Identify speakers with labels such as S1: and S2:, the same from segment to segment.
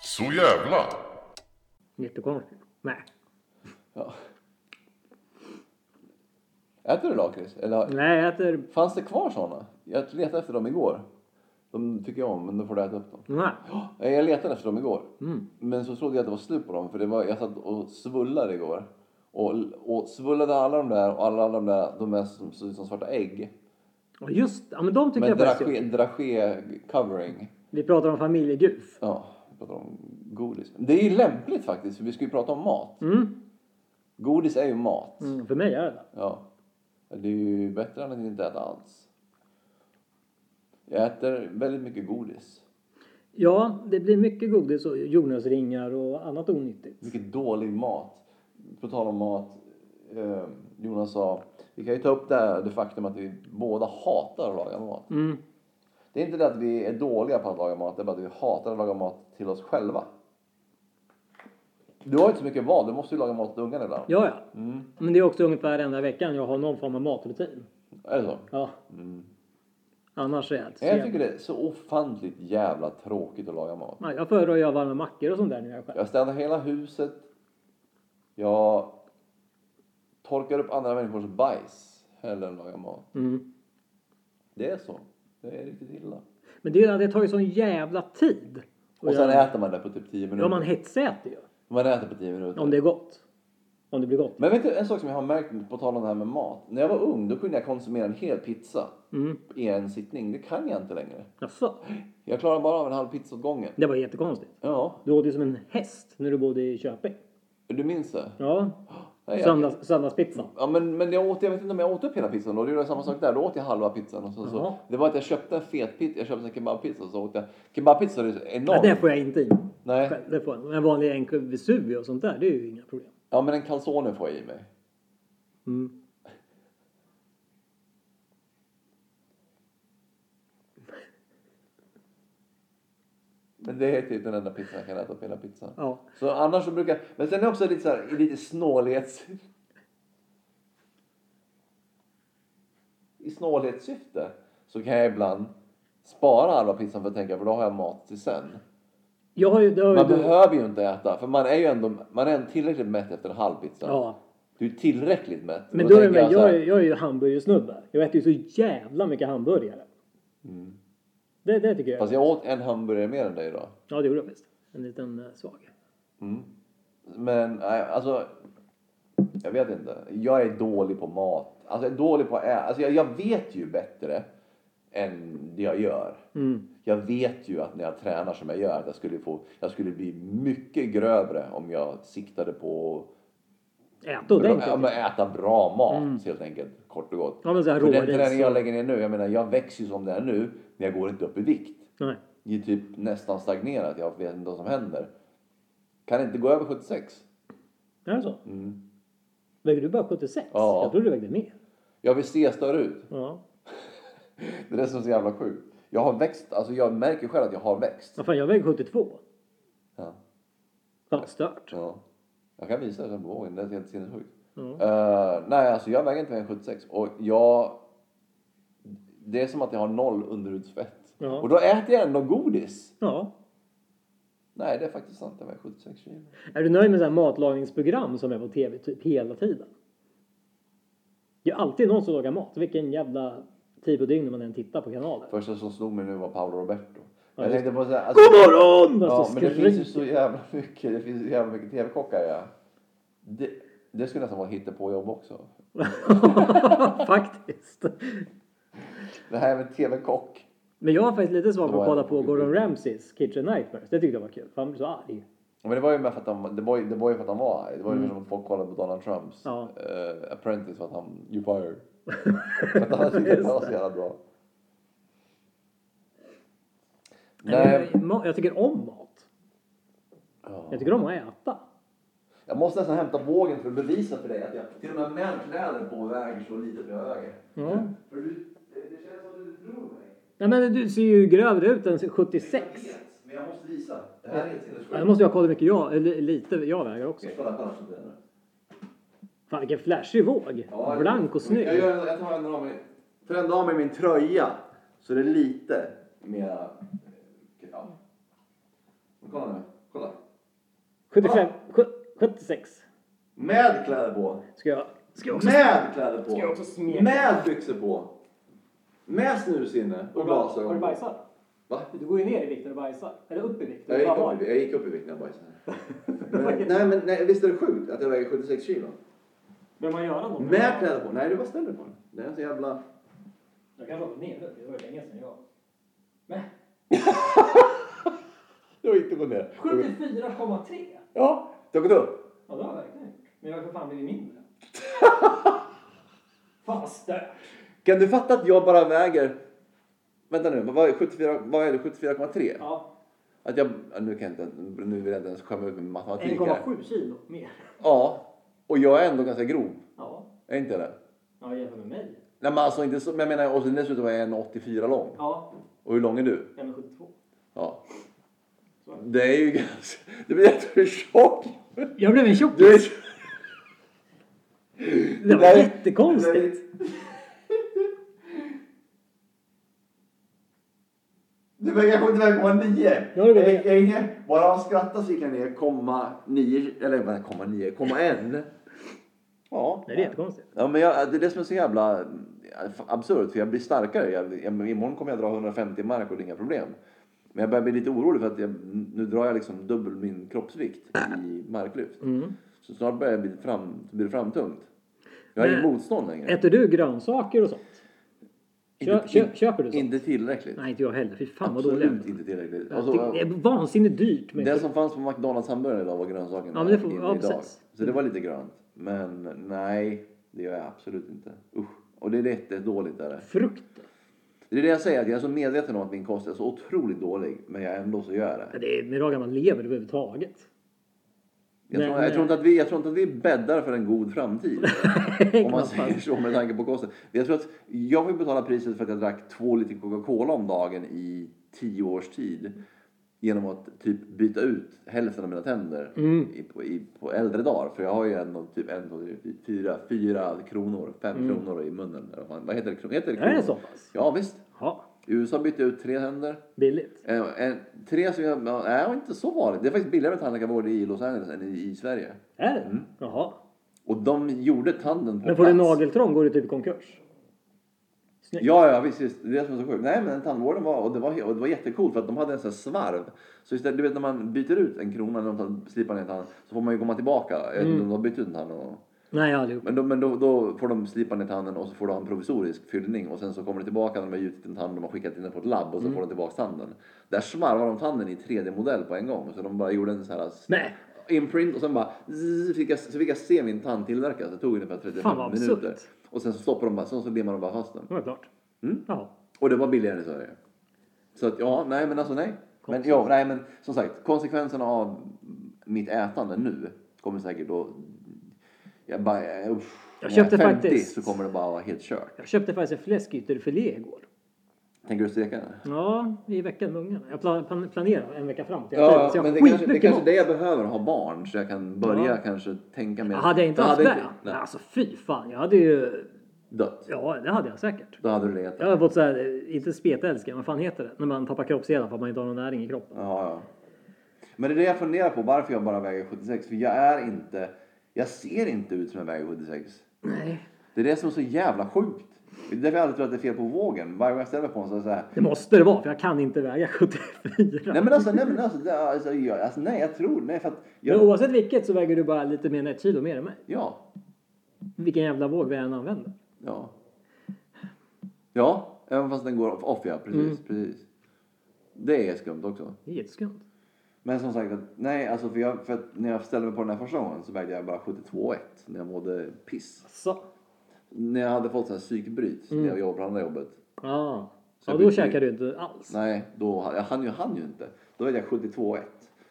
S1: Så jävla!
S2: Jättekonstigt. Nej.
S3: Ja. Äter du lakrits? Eller har-
S2: Nej, jag äter...
S3: Fanns det kvar sådana? Jag letade efter dem igår. De tycker jag om, men då får du äta upp dem.
S2: Nej.
S3: Nej, Jag letade efter dem igår.
S2: Mm.
S3: Men så trodde jag att det var slut på dem. För det var, jag satt och svullade igår. Och, och svullade alla de där och alla de där, de är som ser ut som svarta ägg.
S2: Och just ja, men de tycker
S3: Med
S2: jag faktiskt
S3: dragé, dragé covering.
S2: Vi pratar om familjeguf.
S3: Ja, vi pratar om godis. Det är ju lämpligt faktiskt, för vi ska ju prata om mat.
S2: Mm.
S3: Godis är ju mat.
S2: Mm, för mig är det det.
S3: Ja. Det är ju bättre än att inte äta alls. Jag äter väldigt mycket godis.
S2: Ja, det blir mycket godis och jordnötsringar och annat onyttigt.
S3: Vilket dålig mat. På tal om mat. Eh, Jonas sa, vi kan ju ta upp det, här, det faktum att vi båda hatar att laga mat.
S2: Mm.
S3: Det är inte det att vi är dåliga på att laga mat, det är bara att vi hatar att laga mat till oss själva. Du har ju inte så mycket val, du måste ju laga mat till ungarna ibland.
S2: Ja, ja.
S3: Mm.
S2: Men det är också ungefär enda veckan jag har någon form av matrutin.
S3: Är det så?
S2: Ja.
S3: Mm.
S2: Annars är jag ett
S3: Jag
S2: sent.
S3: tycker det är så ofantligt jävla tråkigt att laga mat.
S2: Nej, Jag föredrar att göra varma mackor och sånt där när jag är själv.
S3: Jag städar hela huset. Jag torkar upp andra människors bajs hellre än lagar mat.
S2: Mm.
S3: Det är så. Det är riktigt illa.
S2: Men det, är ju- det tar ju sån jävla tid.
S3: Och sen
S2: göra-
S3: äter man det på typ 10 minuter.
S2: Ja, man hetsäter ju.
S3: Man äter på 10 minuter.
S2: Om det är gott. Om det blir gott.
S3: Men vet du en sak som jag har märkt på tal om det här med mat. När jag var ung då kunde jag konsumera en hel pizza
S2: Mm.
S3: i en sittning. Det kan jag inte längre.
S2: Jaså?
S3: Jag klarar bara av en halv pizza åt gången.
S2: Det var jättekonstigt.
S3: Ja,
S2: Du åt ju som en häst när du bodde i Köping.
S3: du minns det?
S2: Ja.
S3: Nej, jag-
S2: Söndags, söndagspizzan.
S3: Ja men, men jag, åt, jag vet inte om jag åt upp hela pizzan då. Det gjorde jag samma sak där. Då åt jag halva pizzan. Och så,
S2: Jaha.
S3: så, det var att jag köpte en fet pizza. Jag köpte en kebabpizza och så åt jag. Kebabpizza det är
S2: Ja,
S3: enormt.
S2: det får jag inte i mig.
S3: Nej.
S2: Själv, Det får jag. Men En vanlig enkel Vesuvio och sånt där, det är ju inga problem.
S3: Ja men en calzone får jag i mig.
S2: Mm.
S3: Men det är typ den enda pizzan jag kan äta upp hela pizzan.
S2: Ja.
S3: Så annars så brukar Men sen är jag också lite så här, i lite snålhets... I snålhetssyfte så kan jag ibland spara halva pizzan för att tänka för då har jag mat till sen.
S2: Jag har ju... Det har ju
S3: Man
S2: du...
S3: behöver ju inte äta för man är ju ändå man är ändå tillräckligt mätt efter en halv pizza.
S2: Ja.
S3: Du är tillräckligt mätt.
S2: Men
S3: Då
S2: då är det
S3: tänker
S2: med,
S3: så
S2: jag,
S3: här,
S2: är- jag är ju hamburgersnubbe. Jag äter ju så jävla mycket hamburgare. Det, det tycker jag.
S3: Mm. Fast jag åt en hamburgare mer än dig idag.
S2: Ja, det gjorde jag visst. En liten eh, svag.
S3: Men nej, alltså. Jag vet inte. Jag är dålig på mat. Alltså jag är dålig på att äta. Alltså jag, jag vet ju bättre än det jag gör.
S2: Mm.
S3: Jag vet ju att när jag tränar som jag gör att jag skulle, få, jag skulle bli mycket grövre om jag siktade på
S2: Ät ordentligt.
S3: ja, men äta bra mat
S2: Mm.
S3: helt enkelt. Kort och gott.
S2: Ja, men så här
S3: För den
S2: råris
S3: träning
S2: och-
S3: jag lägger ner nu, jag menar jag växer ju som det är nu, men jag går inte upp i vikt.
S2: Nej.
S3: Det är typ nästan stagnerat. Jag vet inte vad som händer. Kan inte gå över 76.
S2: Är det så? Väger du bara 76?
S3: Mm. Ja.
S2: Jag trodde du vägde mer.
S3: Jag vill se större ut.
S2: Ja.
S3: Det är det som är så jävla sjukt. Jag har växt, alltså jag märker själv att jag har växt.
S2: Vad fan, jag väger 72.
S3: Ja.
S2: Fan, stört.
S3: ja. Jag kan visa det sen på vågen, det är helt sinnessjukt.
S2: Ja.
S3: Eh, nej, alltså jag väger inte mer än 76 och jag... Det är som att jag har noll underhudsfett.
S2: Ja.
S3: Och då äter jag ändå godis.
S2: ja.
S3: Nej, det är faktiskt sant. Jag väger 76 kilo.
S2: Är du nöjd med så här matlagningsprogram som är på tv typ hela tiden? Det är alltid någon som lagar mat. Vilken jävla tid på dygnet man än tittar på kanalen.
S3: Första som slog mig nu var Paolo Roberto.
S2: Ja,
S3: jag
S2: just-
S3: tänkte på så här, alltså,
S2: God morgon!
S3: Ja,
S2: Alltså,
S3: men det finns ju
S2: skrik.
S3: så jävla mycket, det finns så jävla mycket TV-kockar ja. Det, det skulle nästan vara på jobb också.
S2: Faktiskt.
S3: Det här med TV-kock.
S2: Men jag var faktiskt lite svag på
S3: Ja,
S2: att kolla
S3: ja.
S2: på Gordon Ramsays Kitchen Nightmares. Det tyckte jag var kul. för Han blev så arg.
S3: Men det var ju med för att han, det var, ju- det var ju för att han var arg. Det var ju som att folk kollade på Donald Trumps
S2: Mm. Ja.
S3: eh, Apprentice för att han, you fired. för att han tyckte att det var så jävla bra. Nej,
S2: Nej. men ma- Jag tycker om mat.
S3: ja.
S2: Jag tycker om att äta.
S3: jag måste nästan hämta bågen för att bevisa för dig att jag till och med med kläder på väger så lite som jag väger.
S2: Ja.
S3: För du, det, det känns som att du tror mig.
S2: Nej men du ser ju grövre ut än
S3: Jag
S2: 76.
S3: vet, men jag måste visa. Det här är helt sinnessjukt.
S2: Ja, Nu måste jag kolla hur mycket jag, eller lite jag väger också.
S3: Okej, kolla, kolla. så där.
S2: Fan vilken flashig våg.
S3: Ja,
S2: Blank och snygg.
S3: Jag, gör, jag tar en av mig, trendar av mig min tröja så det är lite mera... Ja. eh, Men kolla nu. Kolla.
S2: 75, sju- 76
S3: Med kläder på.
S2: ska jag. Ska jag också.
S3: Med kläder på.
S1: Ska jag också smeka?
S3: Med byxor på. Med snus inne och
S1: Har du
S3: glasögon på.
S1: bajsat?
S3: Va?
S1: Du går ju ner i vikt när du bajsar. Eller upp i vikt.
S3: Jag
S1: Eller
S3: gick,
S1: vad var
S3: upp i,
S1: det?
S3: jag gick upp i vikt när jag bajsade. Men, nej men nej, visst är det sjukt att jag väger 76 kilo?
S1: Behöver man göra något?
S3: Med kläder på? Nej du bara ställer på den. Det är så jävla...
S1: Jag kanske har gått ner nu. Det var ju länge sedan jag... Men
S3: Du har inte gått ner.
S1: 74,3!
S3: Ja, du har gått upp.
S1: Ja, det har jag verkligen gjort. Men jag har för fan blivit mindre. fan vad stört.
S3: Kan du fatta att jag bara väger... Vänta nu, vad är 74, vad är det, 74,3?
S1: Ja,
S3: Att jag... ja, Nu, kan jag inte, nu vill jag inte ens skämma ut min matematik här.
S1: 1,7 kilo mer.
S3: Ja, och jag är ändå ganska grov.
S1: Ja,
S3: Är inte det?
S1: ja jämfört med mig.
S3: Nej men alltså inte så, men jag menar och sen dessutom är jag 1,84 lång.
S1: Ja,
S3: Och hur lång är du?
S1: 1,72.
S3: Ja. Det är ju ganska... Du blir jättetjock!
S2: Jag blev en tjockis.
S3: Du är...
S2: Det var
S3: Nej.
S2: jättekonstigt.
S3: Du väger kanske inte komma nio.
S2: Ja, det väger-
S3: Inge, bara av skratta så gick jag ner komma nio, eller vad komma nio, komma en. Ja.
S2: Nej, det är jättekonstigt.
S3: Ja, men jag, det är det som är så jävla eh, absurt, för jag blir starkare. Jag, jag, imorgon kommer jag dra 150 mark och det är inga problem. Men jag börjar bli lite orolig för att jag, nu drar jag liksom dubbel min kroppsvikt i marklyft.
S2: Mm.
S3: Så snart börjar jag bli fram, blir det framtungt. Jag har
S2: Men-
S3: inget motstånd längre.
S2: Äter du grönsaker och sånt? Kö,
S3: Inte-
S2: kö, köper du sånt?
S3: Inte tillräckligt.
S2: Nej, inte jag heller. Fy fan vad dålig jag
S3: Absolut
S2: är.
S3: inte Alltså, tillräckligt.
S2: Jag tycker Det är vansinnigt dyrt med
S3: Det som fanns på McDonalds hamburgare idag var grönsakerna.
S2: Ja, men det får-
S3: i-
S2: ja,
S3: idag.
S2: precis.
S3: Så det var lite grönt. Men nej, det gör jag absolut inte. Usch. Och det är jättedåligt är det.
S2: frukt.
S3: Det är det jag säger, att jag är så medveten om att min kost är så otroligt dålig. Men jag ändå så gör jag
S2: Ja,
S3: det.
S2: Det är med hur man lever överhuvudtaget.
S3: Jag,
S2: Nej,
S3: tror,
S2: nej.
S3: jag, tror inte att vi, jag tror inte att vi bäddar för en god framtid. om man
S2: Knappast.
S3: säger så med tanke på kosten. Jag tror att jag fick betala priset för att jag drack två liter Coca-Cola om dagen i tio års tid. Genom att typ byta ut hälften av mina tänder
S2: Mm.
S3: i, på, i, på äldre dagar. För jag har ju ändå typ en, två, tre, fyra, fyra, fyra kronor, fem kronor i munnen. Eller vad fan- Vad heter det? Kron- Heter det
S2: Mm. Är
S3: kronor?
S2: det så pass?
S3: Ja visst.
S2: Ja,
S3: I USA bytte jag ut tre tänder.
S2: billigt.
S3: Eh, En, tre som jag... ja, Nej, inte så vanligt. Det är faktiskt billigare med tandläkarvård i Los Angeles än i, i Sverige.
S2: Är det?
S3: Mm.
S2: Jaha.
S3: Och de gjorde tanden på
S2: Men får du
S3: plats.
S2: nageltrång går du typ i konkurs. Snyggt.
S3: Ja, ja, visst, visst. Det är det som är så sjukt. Nej, men tandvården var... Och det var, och det var jättecoolt för att de hade en sån här svarv. Så istället, du vet när man byter ut en krona när de tar- slipar ner tanden så får man ju komma tillbaka. Jag vet
S2: Mm.
S3: inte om de har bytt ut en tand. Och,
S2: Nej, jag har aldrig gjort.
S3: men då, men då, då får de slipa ner tanden och så får du ha en provisorisk fyllning och sen så kommer det tillbaka när de har gjutit en tand och de har skickat in den på ett labb
S2: Mm.
S3: och så får de tillbaka tanden. Där svarvar de tanden i 3D-modell på en gång. Så de bara gjorde en sån här...
S2: Nej.
S3: imprint och sen bara zzz, fick jag, så fick jag se min tand tillverkas. Det tog ungefär 35
S2: Fan, vad
S3: minuter.
S2: absurt.
S3: Och sen så stoppar de bara, sen så limmar de bara fast den.
S2: Det var klart.
S3: Mm.
S2: Jaha.
S3: Och det var billigare än i Sverige. Så att ja, nej men alltså nej. Men,
S2: Konstigt.
S3: ja, nej men som sagt, konsekvenserna av mitt ätande nu kommer säkert då... Jag bara, eh, usch,
S2: Jag
S3: när
S2: köpte
S3: är 50
S2: faktiskt-
S3: så kommer det bara vara helt kört.
S2: Jag köpte faktiskt en fläskytterfilé igår.
S3: Tänker du steka den?
S2: Ja, i veckan med ungarna. Jag plan- plan- planerar en vecka fram till
S3: Ja,
S2: så jag
S3: men det
S2: har
S3: kanske, det är
S2: skitmycket
S3: kanske
S2: mat.
S3: det jag behöver, ha barn. Så jag kan börja
S2: Ja.
S3: kanske tänka mer.
S2: Hade jag inte
S3: Jag
S2: haft
S3: hade
S2: det?
S3: nej,
S2: Alltså fy fan, jag hade ju...
S3: Dött.
S2: Ja, det hade jag säkert.
S3: Då hade du legat där.
S2: Jag har fått såhär, inte spetälska, vad fan heter det? När man tappar kroppsdelar för att man inte har någon näring i kroppen.
S3: Ja, ja. Men det är det jag funderar på, varför jag bara väger 76. För jag är inte, jag ser inte ut som jag väger 76.
S2: Nej.
S3: Det är det som är så jävla sjukt. Det är därför jag alltid tror att det är fel på vågen. Varje gång jag ställer mig på den så är det så här.
S2: Det måste det vara, för jag kan inte väga 74.
S3: Nej men alltså, nej men alltså, det, alltså, jag, alltså nej jag tror, nej för att.
S2: Men
S3: Jag,
S2: oavsett vilket så väger du bara lite mer än ett kilo mer än mig.
S3: ja,
S2: Vilken jävla våg vi än använder.
S3: ja. Ja, även fast den går off, off ja, precis, precis. Det är skumt också.
S2: Det är jätteskumt.
S3: Men som sagt, att- nej alltså för, jag, för att när jag ställde mig på den här första gången så vägde jag bara 72,1 när jag mådde piss.
S2: Så.
S3: När jag hade fått så här psykbryt när jag jobbade på andra jobbet.
S2: Ja.
S3: Så
S2: Ja,
S3: jag
S2: då
S3: bytte-
S2: käkar du inte alls.
S3: Nej, då, jag hann ju, hann ju inte. Då var jag 72,1.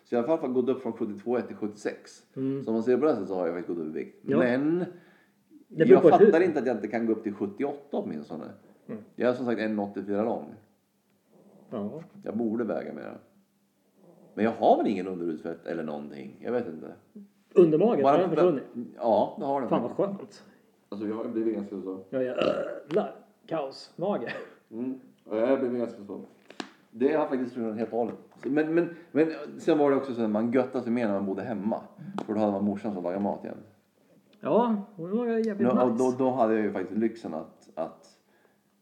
S3: Så jag har i alla fall gått upp från 72,1 till 76. Så om man ser på det här sättet så har jag faktiskt gått upp i vikt.
S2: Mm. Ja.
S3: Men
S2: beror
S3: jag
S2: på hur- Mm.
S3: fattar inte att jag inte kan gå upp till 78 åtminstone. Jag är som sagt 1,84 lång.
S2: Ja.
S3: Jag borde väga mer. Men jag har väl ingen underhudsfett eller någonting. Jag vet inte.
S2: Undermagen, har den försvunnit?
S3: Ja, det har den.
S2: Fan vad skönt.
S3: Alltså jag har blivit ganska så.
S2: Jag jävlar. Kaosmage.
S3: Mm. Jag har blivit ganska så. Det har faktiskt försvunnit helt och hållet. Så- Men, men, men sen var det också så att man göttade sig mer när man bodde hemma. För då hade man morsan som lagade mat igen.
S2: Ja, hon var jävligt
S3: Då,
S2: nice.
S3: då, då hade jag ju faktiskt lyxen att, att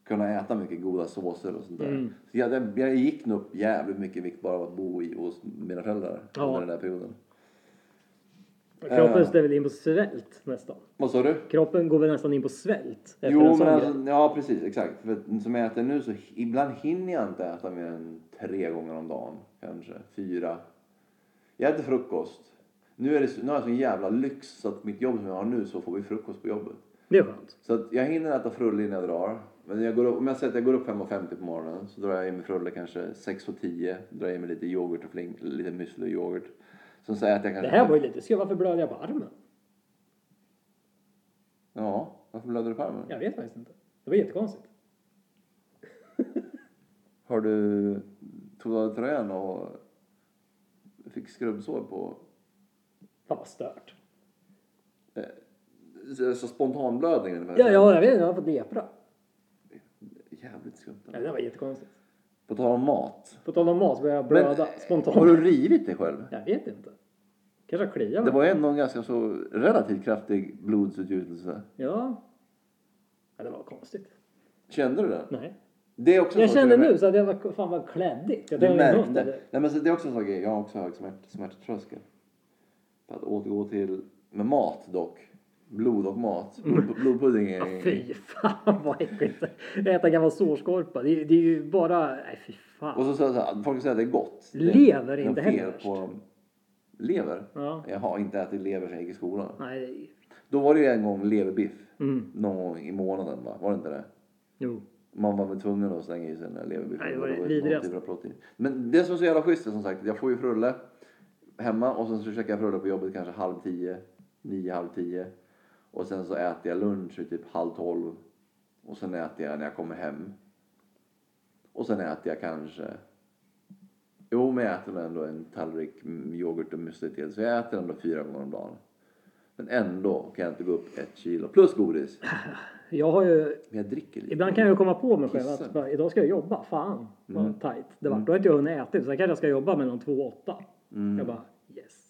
S3: kunna äta mycket goda såser och sånt där.
S2: Mm.
S3: Så jag, jag- jag gick nog upp jävligt mycket i vikt bara av att bo i hos mina föräldrar
S2: Ja.
S3: under den där perioden.
S2: Kroppen
S3: eh.
S2: ställer väl in på svält nästan.
S3: Vad sa du?
S2: Kroppen går väl nästan in på svält efter
S3: Jo,
S2: en
S3: men
S2: sån grej.
S3: alltså, ja precis, exakt. För att som jag äter nu så h- ibland hinner jag inte äta mer än tre gånger om dagen. Kanske fyra. Jag äter frukost. Nu, är det, så- nu har jag sån jävla lyx så att mitt jobb som jag har nu så får vi frukost på jobbet.
S2: Det är skönt.
S3: Så att jag hinner äta frulle innan jag drar. Men jag går upp, om jag säger att jag går upp 5.50 på morgonen så drar jag i mig frulle kanske 6.10. Drar i mig lite yoghurt och fling, lite müsli och yoghurt. Sen så äter jag
S2: Det
S3: kanske...
S2: här var ju lite skoj. Varför blöder jag på armen?
S3: Ja, varför blöder du på armen?
S2: Jag vet faktiskt inte. Det var jättekonstigt.
S3: Har du... Tog du av dig tröjan och fick skrubbsår på...
S2: Fan vad stört.
S3: Så så spontanblödning ungefär?
S2: Ja, ja jag vet inte. Jag har fått lepra.
S3: Jävligt skumt.
S2: Ja, det var jättekonstigt.
S3: På tal om mat.
S2: På tal om mat så började jag
S3: Men,
S2: blöda
S3: eh,
S2: spontant.
S3: Har du rivit dig själv?
S2: Jag vet inte. Kanske har kliat
S3: Det
S2: mig.
S3: var ändå en ganska så relativt kraftig blodsutgjutelse.
S2: Ja. ja. Det var konstigt.
S3: Kände du det?
S2: Nej.
S3: Det är också en
S2: Jag
S3: sak
S2: kände
S3: jag vet-
S2: nu så att jag var fan vad kläddigt. Jag
S3: Du
S2: tänkte, min mun
S3: märkte.
S2: hade-
S3: Nej, men så det är också en sak, jag har också hög smärt, smärttröskel. För att återgå till, med mat dock. Blod och mat. Blod, blodpudding är...
S2: Mm. Ja, fy fan vad äckligt. Äta gammal sårskorpa. Det, är- det är ju bara... Nej fy
S3: Och
S2: fan.
S3: så, så, så folk säger att det är gott. Det-
S2: Lever
S3: det är
S2: inte
S3: fel
S2: heller
S3: på Lever?
S2: Ja.
S3: Jag har inte ätit lever sedan jag gick i skolan.
S2: Nej. det är-
S3: Då var det ju en gång leverbiff.
S2: Mm.
S3: Någon gång i månaden va? Var det inte det?
S2: Jo.
S3: Man var väl tvungen att slänga i sig den där leverbiffen.
S2: Nej, det var det
S3: någon
S2: vidrigaste.
S3: typ av protein. Men det som är så jävla schysst är som sagt att jag får ju frulle hemma och sen så käkar jag frulle på jobbet kanske halv tio, nio, halv tio. Och sen så äter jag lunch vid typ halv tolv. Och sen äter jag när jag kommer hem. Och sen äter jag kanske... Jo, men jag äter nog ändå en tallrik mm, yoghurt och müsli till. Så jag äter ändå fyra gånger om dagen. Men ändå kan jag inte gå upp ett kilo. Plus godis.
S2: Jag har ju...
S3: Men jag dricker lite.
S2: Ibland kan jag ju komma på mig själv
S3: Kissa.
S2: att bara, idag ska jag jobba. Fan vad
S3: Mm.
S2: tajt det vart. Då har inte jag hunnit äta. Sen kanske jag ska jobba mellan två och åtta.
S3: Mm.
S2: Jag bara yes.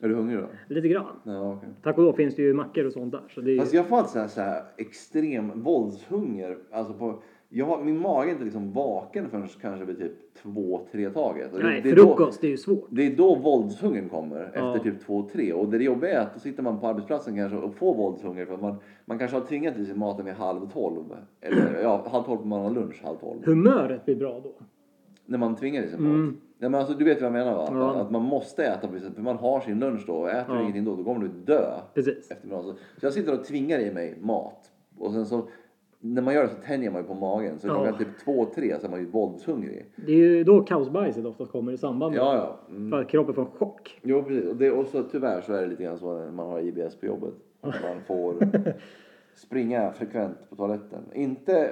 S3: Är du hungrig då?
S2: Lite grann.
S3: Ja, okej.
S2: Tack och lov finns det ju mackor och sånt där. Så det är ju...
S3: Fast Alltså, jag får alltid så här, så här extrem våldshunger. Alltså på, jag har, min mage är inte liksom vaken förrän kanske vid typ två, tre taget. Och det-
S2: Nej,
S3: det är Då,
S2: frukost det är ju svårt.
S3: det är då våldshungern kommer, efter
S2: Ja.
S3: typ två, tre. Och det jobbiga är att då sitter man på arbetsplatsen kanske och får våldshunger för att man, man kanske har tvingat i sig maten vid halv tolv. Eller ja, halv tolv på man har lunch, halv tolv.
S2: Humöret blir bra då.
S3: När man tvingar i sig mat.
S2: Mm.
S3: Nej, men alltså, du vet vad jag menar va?
S2: Ja.
S3: Att man måste äta, precis, för man har sin lunch då. Och äter du
S2: Ja.
S3: ingenting då, då kommer du dö
S2: Precis.
S3: eftermiddag. Så, så jag sitter och tvingar i mig mat. Och sen så, när man gör det så tänjer man ju på magen. Så
S2: Ja.
S3: klockan typ två, tre så är man ju våldshungrig.
S2: Det är ju då kaosbajset oftast kommer i samband med.
S3: Ja, ja. Mm.
S2: För att kroppen får en chock.
S3: Jo, precis. Och, det, och så, tyvärr så är det lite grann så när man har IBS på jobbet. Att man får springa frekvent på toaletten. Inte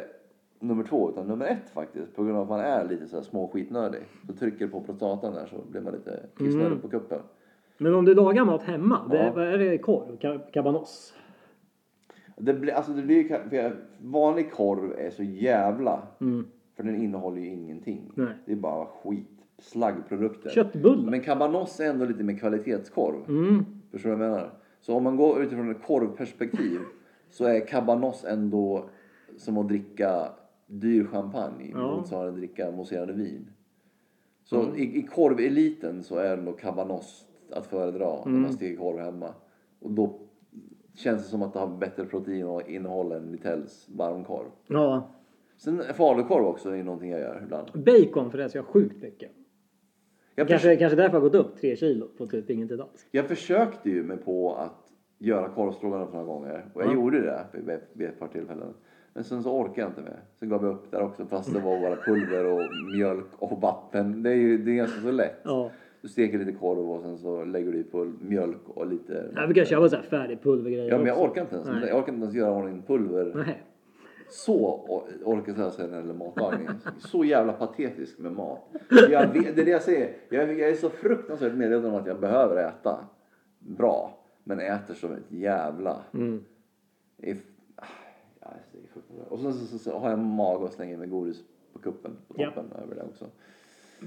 S3: nummer två, utan nummer ett faktiskt. På grund av att man är lite så här småskitnödig. Så trycker det på prostatan där så blir man lite kissnödig på kuppen.
S2: Men om du lagar mat hemma, det,
S3: Ja.
S2: vad är det korv? Ka- Kabanoss?
S3: Det blir, alltså det blir ju, ka- för jag- vanlig korv är så jävla För den innehåller ju ingenting.
S2: Nej.
S3: Det är bara skit. Slaggprodukter.
S2: Köttbullar?
S3: Men kabanoss är ändå lite mer kvalitetskorv.
S2: Mm.
S3: Förstår du vad jag menar? Så om man går utifrån ett korvperspektiv så är kabanoss ändå som att dricka dyr champagne
S2: Ja. Mm.
S3: motsvarande att dricka mousserande vin. Så i, i korveliten så är ändå kabanoss att föredra när
S2: Mm.
S3: man steker korv hemma. Och då känns det som att det har bättre proteininnehåll än Vitells varmkorv.
S2: Ja.
S3: Sen falukorv också är någonting jag gör ibland.
S2: Bacon förresten, jag har sjukt mycket.
S3: Jag, förs-
S2: Kanske, kanske därför har jag gått upp tre kilo på typ ingenting alls.
S3: jag försökte ju mig på att göra korvstroganoff några gånger och jag
S2: Ja.
S3: gjorde det vid- vid, vid ett par tillfällen. Men sen så orkade jag inte mer. Sen gav jag upp där också fast det var bara pulver och mjölk och vatten. Det är ju det är ganska så lätt.
S2: Ja.
S3: Du steker lite korv och sen så lägger du i pul- mjölk och lite...
S2: Jag brukar köpa så här färdig pulvergrejer
S3: Ja men jag
S2: också.
S3: orkar inte ens.
S2: Nej.
S3: Jag orkar inte ens göra ordning pulver.
S2: Nej.
S3: Så or- orkar jag säga när det gäller matlagning. Så jävla patetisk med mat. Jag vet, det är det jag säger. Jag, jag är så fruktansvärt medveten om att jag behöver äta bra. Men äter som ett jävla...
S2: Mm.
S3: If, ah, ja, det är fruktansvärt. och sen så, så, så har jag mag att slänga i mig godis på kuppen, på
S2: Ja.
S3: toppen över det också.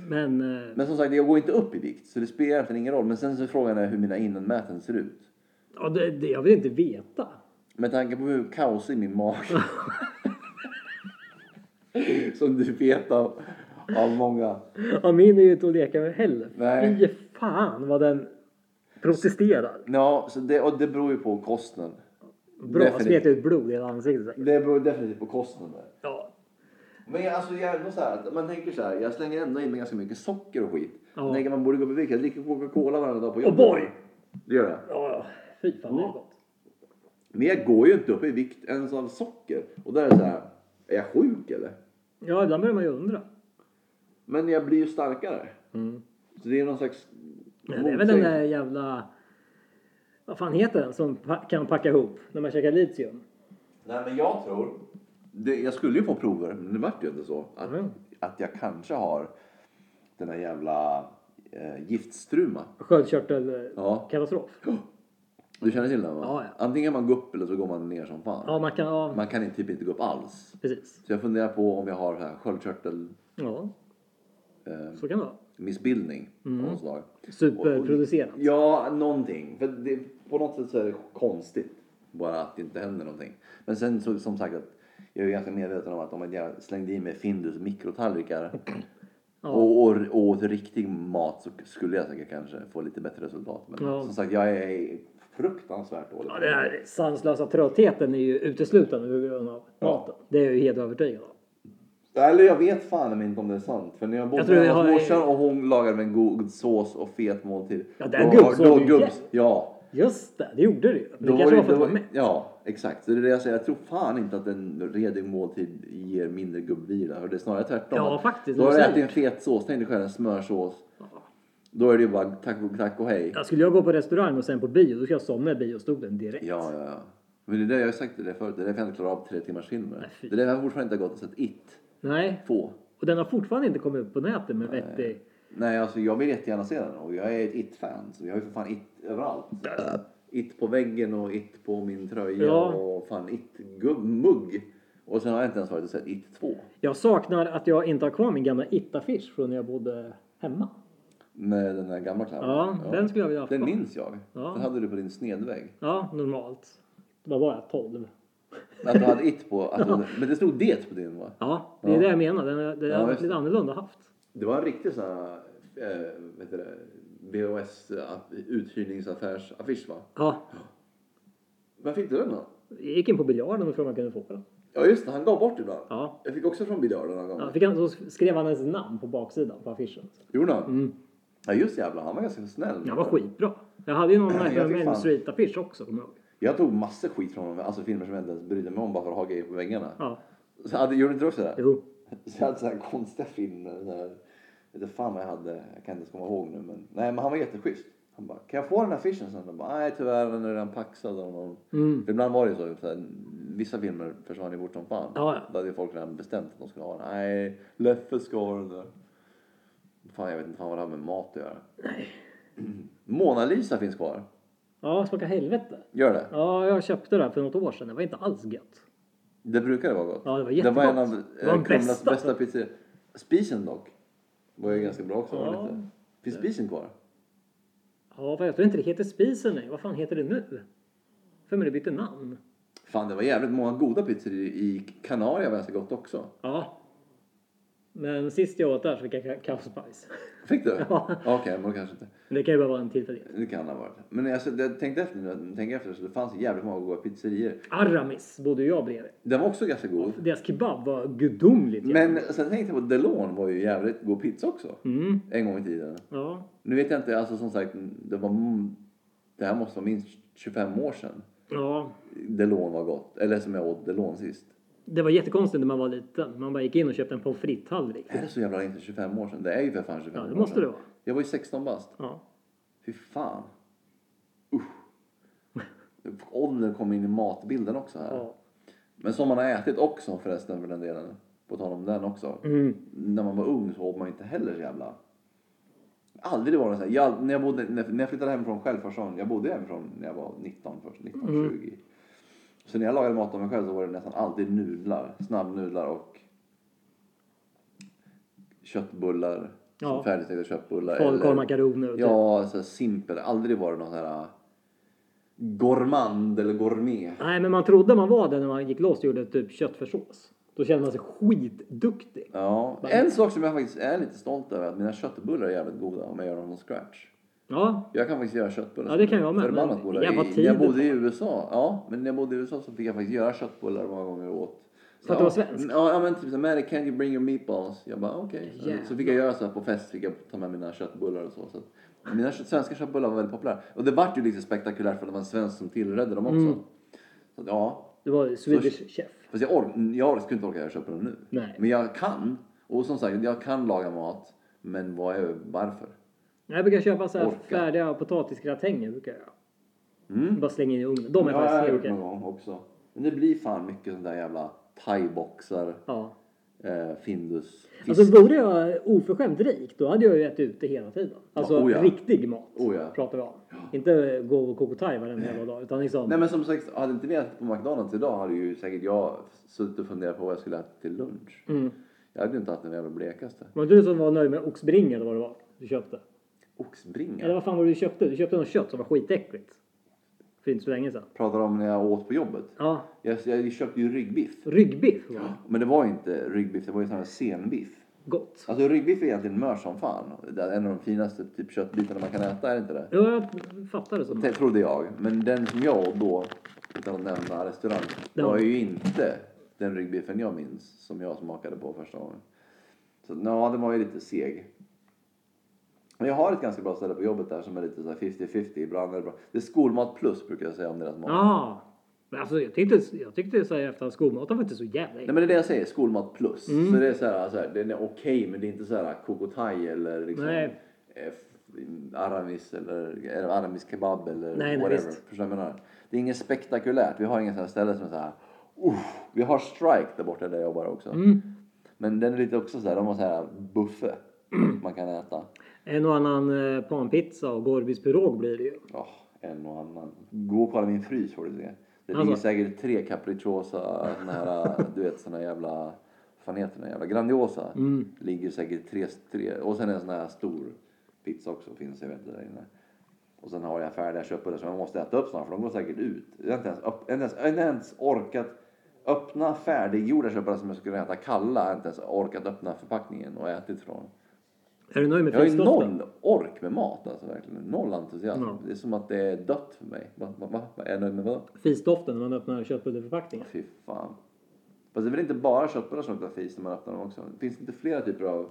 S2: Men, eh,
S3: Men som sagt, jag går inte upp i vikt så det spelar egentligen ingen roll. Men sen så är frågan är hur mina innanmäten ser ut.
S2: ja, det, det, jag vill inte veta.
S3: Med tanke på hur kaosig min mage Som du vet av, av många.
S2: Ja, min är ju inte att leka med heller.
S3: Nej.
S2: Fy fan vad den protesterar.
S3: Ja, så det, och det beror ju på kosten.
S2: Bra,
S3: Definitivt.
S2: smet ut blod i hela ansiktet. säkert.
S3: Det beror definitivt på kosten. Där.
S2: Ja,
S3: Men jag, alltså, jag, är ändå så här, att man tänker så här, jag slänger ändå in mig ganska mycket socker och skit.
S2: Ja.
S3: Jag tänker man borde gå upp i vikt. Jag dricker Coca-Cola varje dag på
S2: Åh,
S3: jobbet.
S2: boy!
S3: Det gör jag.
S2: ja, ja. fy fan det är gott.
S3: Men jag går ju inte upp i vikt ens av socker. Och där är det så här, är jag sjuk eller?
S2: Ja, ibland börjar man ju undra.
S3: Men jag blir ju starkare.
S2: Mm.
S3: Så det är någon slags
S2: Men det är väl den där jävla... Vad fan heter den som pa- kan packa ihop när man käkar litium?
S3: Nej, men jag tror... Det, jag skulle ju få prover, men det vart ju inte så. Att,
S2: Mm.
S3: att jag kanske har den här jävla eh, giftstruma. Ja.
S2: Sköldkörtelkatastrof.
S3: Du känner till den va?
S2: Ja, ja.
S3: Antingen man går upp eller så går man ner som fan.
S2: Ja, man kan... Ja,
S3: Man kan inte- typ inte gå upp alls.
S2: precis.
S3: Så jag funderar på om jag har så här sköldkörtel...
S2: Ja,
S3: Eh,
S2: så kan det vara.
S3: missbildning
S2: Mm.
S3: av något slag.
S2: Superproducerat.
S3: Ja, någonting. För det, på något sätt så är det konstigt bara att det inte händer någonting. Men sen så, som sagt att jag är ganska medveten om att om jag slängde i mig Findus mikrotallrikar
S2: Ja.
S3: och, och, och åt riktig mat så skulle jag säkert kanske få lite bättre resultat. Men
S2: Ja.
S3: som sagt, jag är fruktansvärt dålig.
S2: Ja, den här sanslösa tröttheten är ju uteslutande på grund av
S3: Ja.
S2: maten. Det är jag ju helt övertygad om.
S3: Eller jag vet fan inte om det är sant. För när jag bodde
S2: tror
S3: med
S2: jag
S3: hos
S2: har-
S3: morsan och hon lagade en god sås och fet måltid.
S2: Ja, den
S3: då-
S2: gubbsåsen
S3: då
S2: är ju
S3: gubbs- Ja,
S2: Just det, det gjorde det ju. Men
S3: Då
S2: Det kanske var för att
S3: då
S2: man var med.
S3: Ja, exakt. Så det är det jag säger. Jag tror fan inte att en redig måltid ger mindre gubbvila. Och det är snarare tvärtom.
S2: Ja,
S3: Att
S2: faktiskt,
S3: Då har
S2: du
S3: du
S2: säger
S3: ätit en fet sås. Tänk dig själv en smörsås. Då är det ju bara tack och, tack och hej.
S2: Ja, skulle jag gå på restaurang och sen på bio, då skulle jag somna i biostolen direkt.
S3: Ja, ja, ja. Men det är det jag har sagt till dig förut. Det är därför jag inte klarar av tre timmars filmer.
S2: Nej, fy.
S3: det är därför jag fortfarande inte har gått och sett It.
S2: Nej,
S3: Få.
S2: och den har fortfarande inte kommit upp på nätet med vettig...
S3: Nej, alltså jag vill jättegärna se den. Och jag är ett It-fan. Så jag har ju för fan It överallt. It på väggen och It på min tröja.
S2: Ja.
S3: Och fan It-mugg. Och sen har jag inte ens varit och sett It 2.
S2: Jag saknar att jag inte har kvar min gamla it-affisch från när jag bodde hemma.
S3: Med den där gamla clownen?
S2: Ja, den skulle jag vilja ha
S3: Den
S2: kvar.
S3: minns jag.
S2: Ja.
S3: Den hade du på din snedvägg.
S2: Ja, normalt. Vad var jag? 12?
S3: Att du hade it på. Att du, men det stod det på din va?
S2: Ja, det är
S3: Ja.
S2: det jag menar. Den, den
S3: Ja,
S2: har varit
S3: just
S2: lite annorlunda haft.
S3: Det var en riktig sån här, eh, vad heter det, VHS eh, uthyrningsaffärsaffisch va?
S2: Ja,
S3: Var fick du den då?
S2: jag gick in på biljarden och frågade om man kunde få den.
S3: Ja just det, han gav bort ibland.
S2: Ja.
S3: Jag fick också från biljard någon gång.
S2: Ja, fick han, så skrev han ens namn på baksidan på affischen.
S3: Gjorde han? Ja just jävlar, han var ganska snäll.
S2: Den Mm. var skitbra. Jag hade ju någon
S3: Jag
S2: Nightmare on
S3: fick
S2: Main
S3: fan-
S2: Street-affisch också, kommer jag ihåg.
S3: Jag tog massor skit från honom, alltså filmer som jag inte ens brydde mig om bara för att ha grejer på väggarna.
S2: Ja,
S3: Så hade, gjorde inte du också det?
S2: jo.
S3: Så jag hade sådana här konstiga filmer. Så här, jag vet inte fan vad jag hade. Jag kan inte ens komma ihåg nu. Men, nej, men han var jätteschysst. Han bara, kan jag få den här affischen sen? Jag bara, nej tyvärr, den är redan paxad av någon.
S2: Mm.
S3: För Ibland var det ju så. så här, vissa filmer försvann ju bort som fan.
S2: Ja, ja.
S3: Då hade ju folk redan bestämt att de skulle ha den. Nej, Leffe ska ha den där. Fan, jag vet inte fan vad det har med mat att göra. Mona Lisa finns kvar.
S2: Ja, smaka helvete.
S3: Gör det?
S2: Ja, jag köpte det här för något år sedan. Det var inte alls gött.
S3: Det brukade vara gott.
S2: Ja, det var
S3: det var en av
S2: jättegott. Det var
S3: eh,
S2: den
S3: Kumlas
S2: bästa.
S3: bästa pizzerior. Spisen dock. Var ju ganska bra också. var
S2: Ja.
S3: Lite. Finns spisen kvar?
S2: Ja, för jag tror inte det heter Spisen längre. Vad fan heter det nu? För mig det bytte namn.
S3: Fan, det var jävligt många goda pizzor i, i Kanarien var ganska gott också.
S2: Ja. Men sist jag åt där så fick jag ka- kaosbajs.
S3: Fick du?
S2: Ja.
S3: Okej, men då kanske inte.
S2: Men det kan ju bara vara en tillfällighet.
S3: Det kan ha varit. Men alltså, jag tänkte efter nu, tänker efter så det fanns jävligt många goda pizzerior.
S2: Aramis bodde ju jag bredvid.
S3: Den var också ganska god.
S2: Deras kebab var gudomligt jävla
S3: Men sen tänkte jag på Delon var ju jävligt god pizza också.
S2: Mm,
S3: En gång i tiden.
S2: ja.
S3: Nu vet jag inte, alltså som sagt, det var... Det här måste vara minst 25 år sedan.
S2: Ja.
S3: Delon var gott. Eller som jag åt Delon sist.
S2: Det var jättekonstigt när man var liten. Man bara gick in och köpte en pommes frites-tallrik.
S3: Är det så jävla inte 25 år sedan? Det är ju för fan 25
S2: Ja, det
S3: år
S2: måste
S3: sedan.
S2: det vara.
S3: Jag var ju 16 bast.
S2: Ja.
S3: Fy fan. Usch. Ålder kommer in i matbilden också här.
S2: ja.
S3: Men som man har ätit också förresten för den delen. På tal om den också.
S2: Mm.
S3: När man var ung så åt man inte heller så jävla... Aldrig var det så här. Jag, när, jag bodde, när när jag flyttade hemifrån själv första gången. Jag bodde hemifrån när jag var 19 först. 19,
S2: Mm.
S3: 20. Så när jag lagade mat av mig själv så var det nästan alltid nudlar. Snabbnudlar och köttbullar.
S2: Ja.
S3: Ja. Färdigstekta köttbullar.
S2: Falukorv, makaroner och typ.
S3: Ja, så här simpel. Aldrig varit någon sån här äh, gourmand eller gourmet.
S2: Nej, men man trodde man var det när man gick loss och gjorde typ köttfärssås. Då kände man sig skitduktig.
S3: Ja. En sak som jag faktiskt är lite stolt över är att mina köttbullar är jävligt goda om jag gör dem från scratch.
S2: Ja,
S3: Jag kan faktiskt göra köttbullar.
S2: Ja,
S3: som
S2: det
S3: är
S2: kan jag med,
S3: Förbannat
S2: men
S3: goda.
S2: jävla
S3: I-
S2: tid
S3: När jag bodde i
S2: det
S3: USA. Ja, men när jag bodde i USA så fick jag faktiskt göra köttbullar många gånger jag åt.
S2: För att
S3: ja,
S2: du var svensk?
S3: Ja, ja, men typ såhär, Mary can you bring your meatballs? Jag bara okej.
S2: Jävlar.
S3: Så fick jag göra så här på fest, fick jag ta med mina köttbullar och så. så att mina kö- svenska köttbullar var väldigt populära. Och det vart ju lite spektakulärt för det var en svensk som tillredde dem också.
S2: Mm.
S3: Så att, ja,
S2: det var Swedish chef.
S3: Fast jag, ork, jag skulle inte orka göra köttbullar nu.
S2: Nej.
S3: Men jag kan. Och som sagt, jag kan laga mat. Men vad är, varför?
S2: Jag brukar köpa så här
S3: Orka.
S2: färdiga potatisgratänger. Brukar jag. göra.
S3: Mm.
S2: Bara slänga in i ugnen. De är
S3: jag har
S2: faktiskt
S3: gjort
S2: helt
S3: någon
S2: okej.
S3: gång också. Men det blir fan mycket sånt där jävla thaiboxar,
S2: Ja.
S3: eh, Findus, fisk.
S2: Alltså vore jag oförskämt rik då hade jag ju ätit ute hela tiden. Alltså
S3: Ja, oh ja.
S2: riktig mat
S3: Oh ja.
S2: pratar vi om. Inte gå och koka thai varenda jävla dag utan liksom.
S3: Nej men som sagt, hade inte vi ätit på McDonalds idag hade ju säkert jag suttit och funderat på vad jag skulle äta till lunch.
S2: Mm.
S3: Jag hade ju inte haft den jävla blekaste.
S2: Var det du som var nöjd med oxbringa eller vad det var du köpte? Eller
S3: Oxbringa.
S2: vad fan var det du köpte? Du köpte något kött som var skitäckligt. För inte så länge sedan.
S3: Pratar om när jag åt på jobbet.
S2: Ja,
S3: Jag, jag köpte ju ryggbiff.
S2: ryggbiff var det.
S3: Men det var ju inte ryggbiff, det var ju sån här senbiff.
S2: Gott.
S3: Alltså ryggbiff är egentligen mör som fan. Det är en av de finaste typ, köttbitarna man kan äta, är det inte det?
S2: Jo, jag fattar det som.
S3: Det trodde jag. Men den som jag åt då, utan att nämna restaurang,
S2: Ja.
S3: var ju inte den ryggbiffen jag minns som jag smakade på första gången. Så ja, den var ju lite seg. Men jag har ett ganska bra ställe på jobbet där som är lite så här 50-50. Ibland är det bra. Det är skolmat plus brukar jag säga om deras mat.
S2: Ja. Men alltså jag tyckte, jag tyckte så här i efterhand skolmaten var inte så jävla
S3: Nej
S2: äcklig.
S3: men det är det jag säger, skolmat plus.
S2: Mm.
S3: Så det är så här, så här den är okej men det är inte så här kokotaj eller liksom
S2: Nej.
S3: eh, aramis eller, eller aramis kebab eller
S2: Nej, nej,
S3: whatever.
S2: visst.
S3: Förstår du vad jag menar? Det är inget spektakulärt. Vi har inget sånt här ställe som är så här Uff, vi har strike där borta där jag jobbar också.
S2: Mm.
S3: Men den är lite också så här, de har så här buffé man kan äta.
S2: En och annan eh, panpizza och Gorbis pirog blir det ju.
S3: Ja, en och annan. Gå och kolla min frys får du se. Det ligger
S2: Alltså.
S3: säkert tre capricciosa såna här, du vet såna jävla, fan heter den jävla, grandiosa. Ligger säkert tre, tre, och sen en sån här stor pizza också finns, jag vet inte där inne. Och sen har jag färdiga köttbullar som jag måste äta upp snart för de går säkert ut. Jag har inte ens, upp, jag har inte ens, jag har inte ens orkat öppna färdiggjorda köttbullar som jag skulle äta kalla. Jag har inte ens orkat öppna förpackningen och ätit från.
S2: Är du nöjd med
S3: Jag har ju
S2: fiskdoften?
S3: noll ork med mat alltså verkligen. Noll entusiasm.
S2: Ja.
S3: Det är som att det är dött för mig. Va, va, va? Vad Är jag nöjd med vadå?
S2: Fisdoften när man öppnar köttbulleförpackningen.
S3: Fy fan. Fast det är väl inte bara köttbullar som luktar fis när man öppnar dem också? Finns det inte flera typer av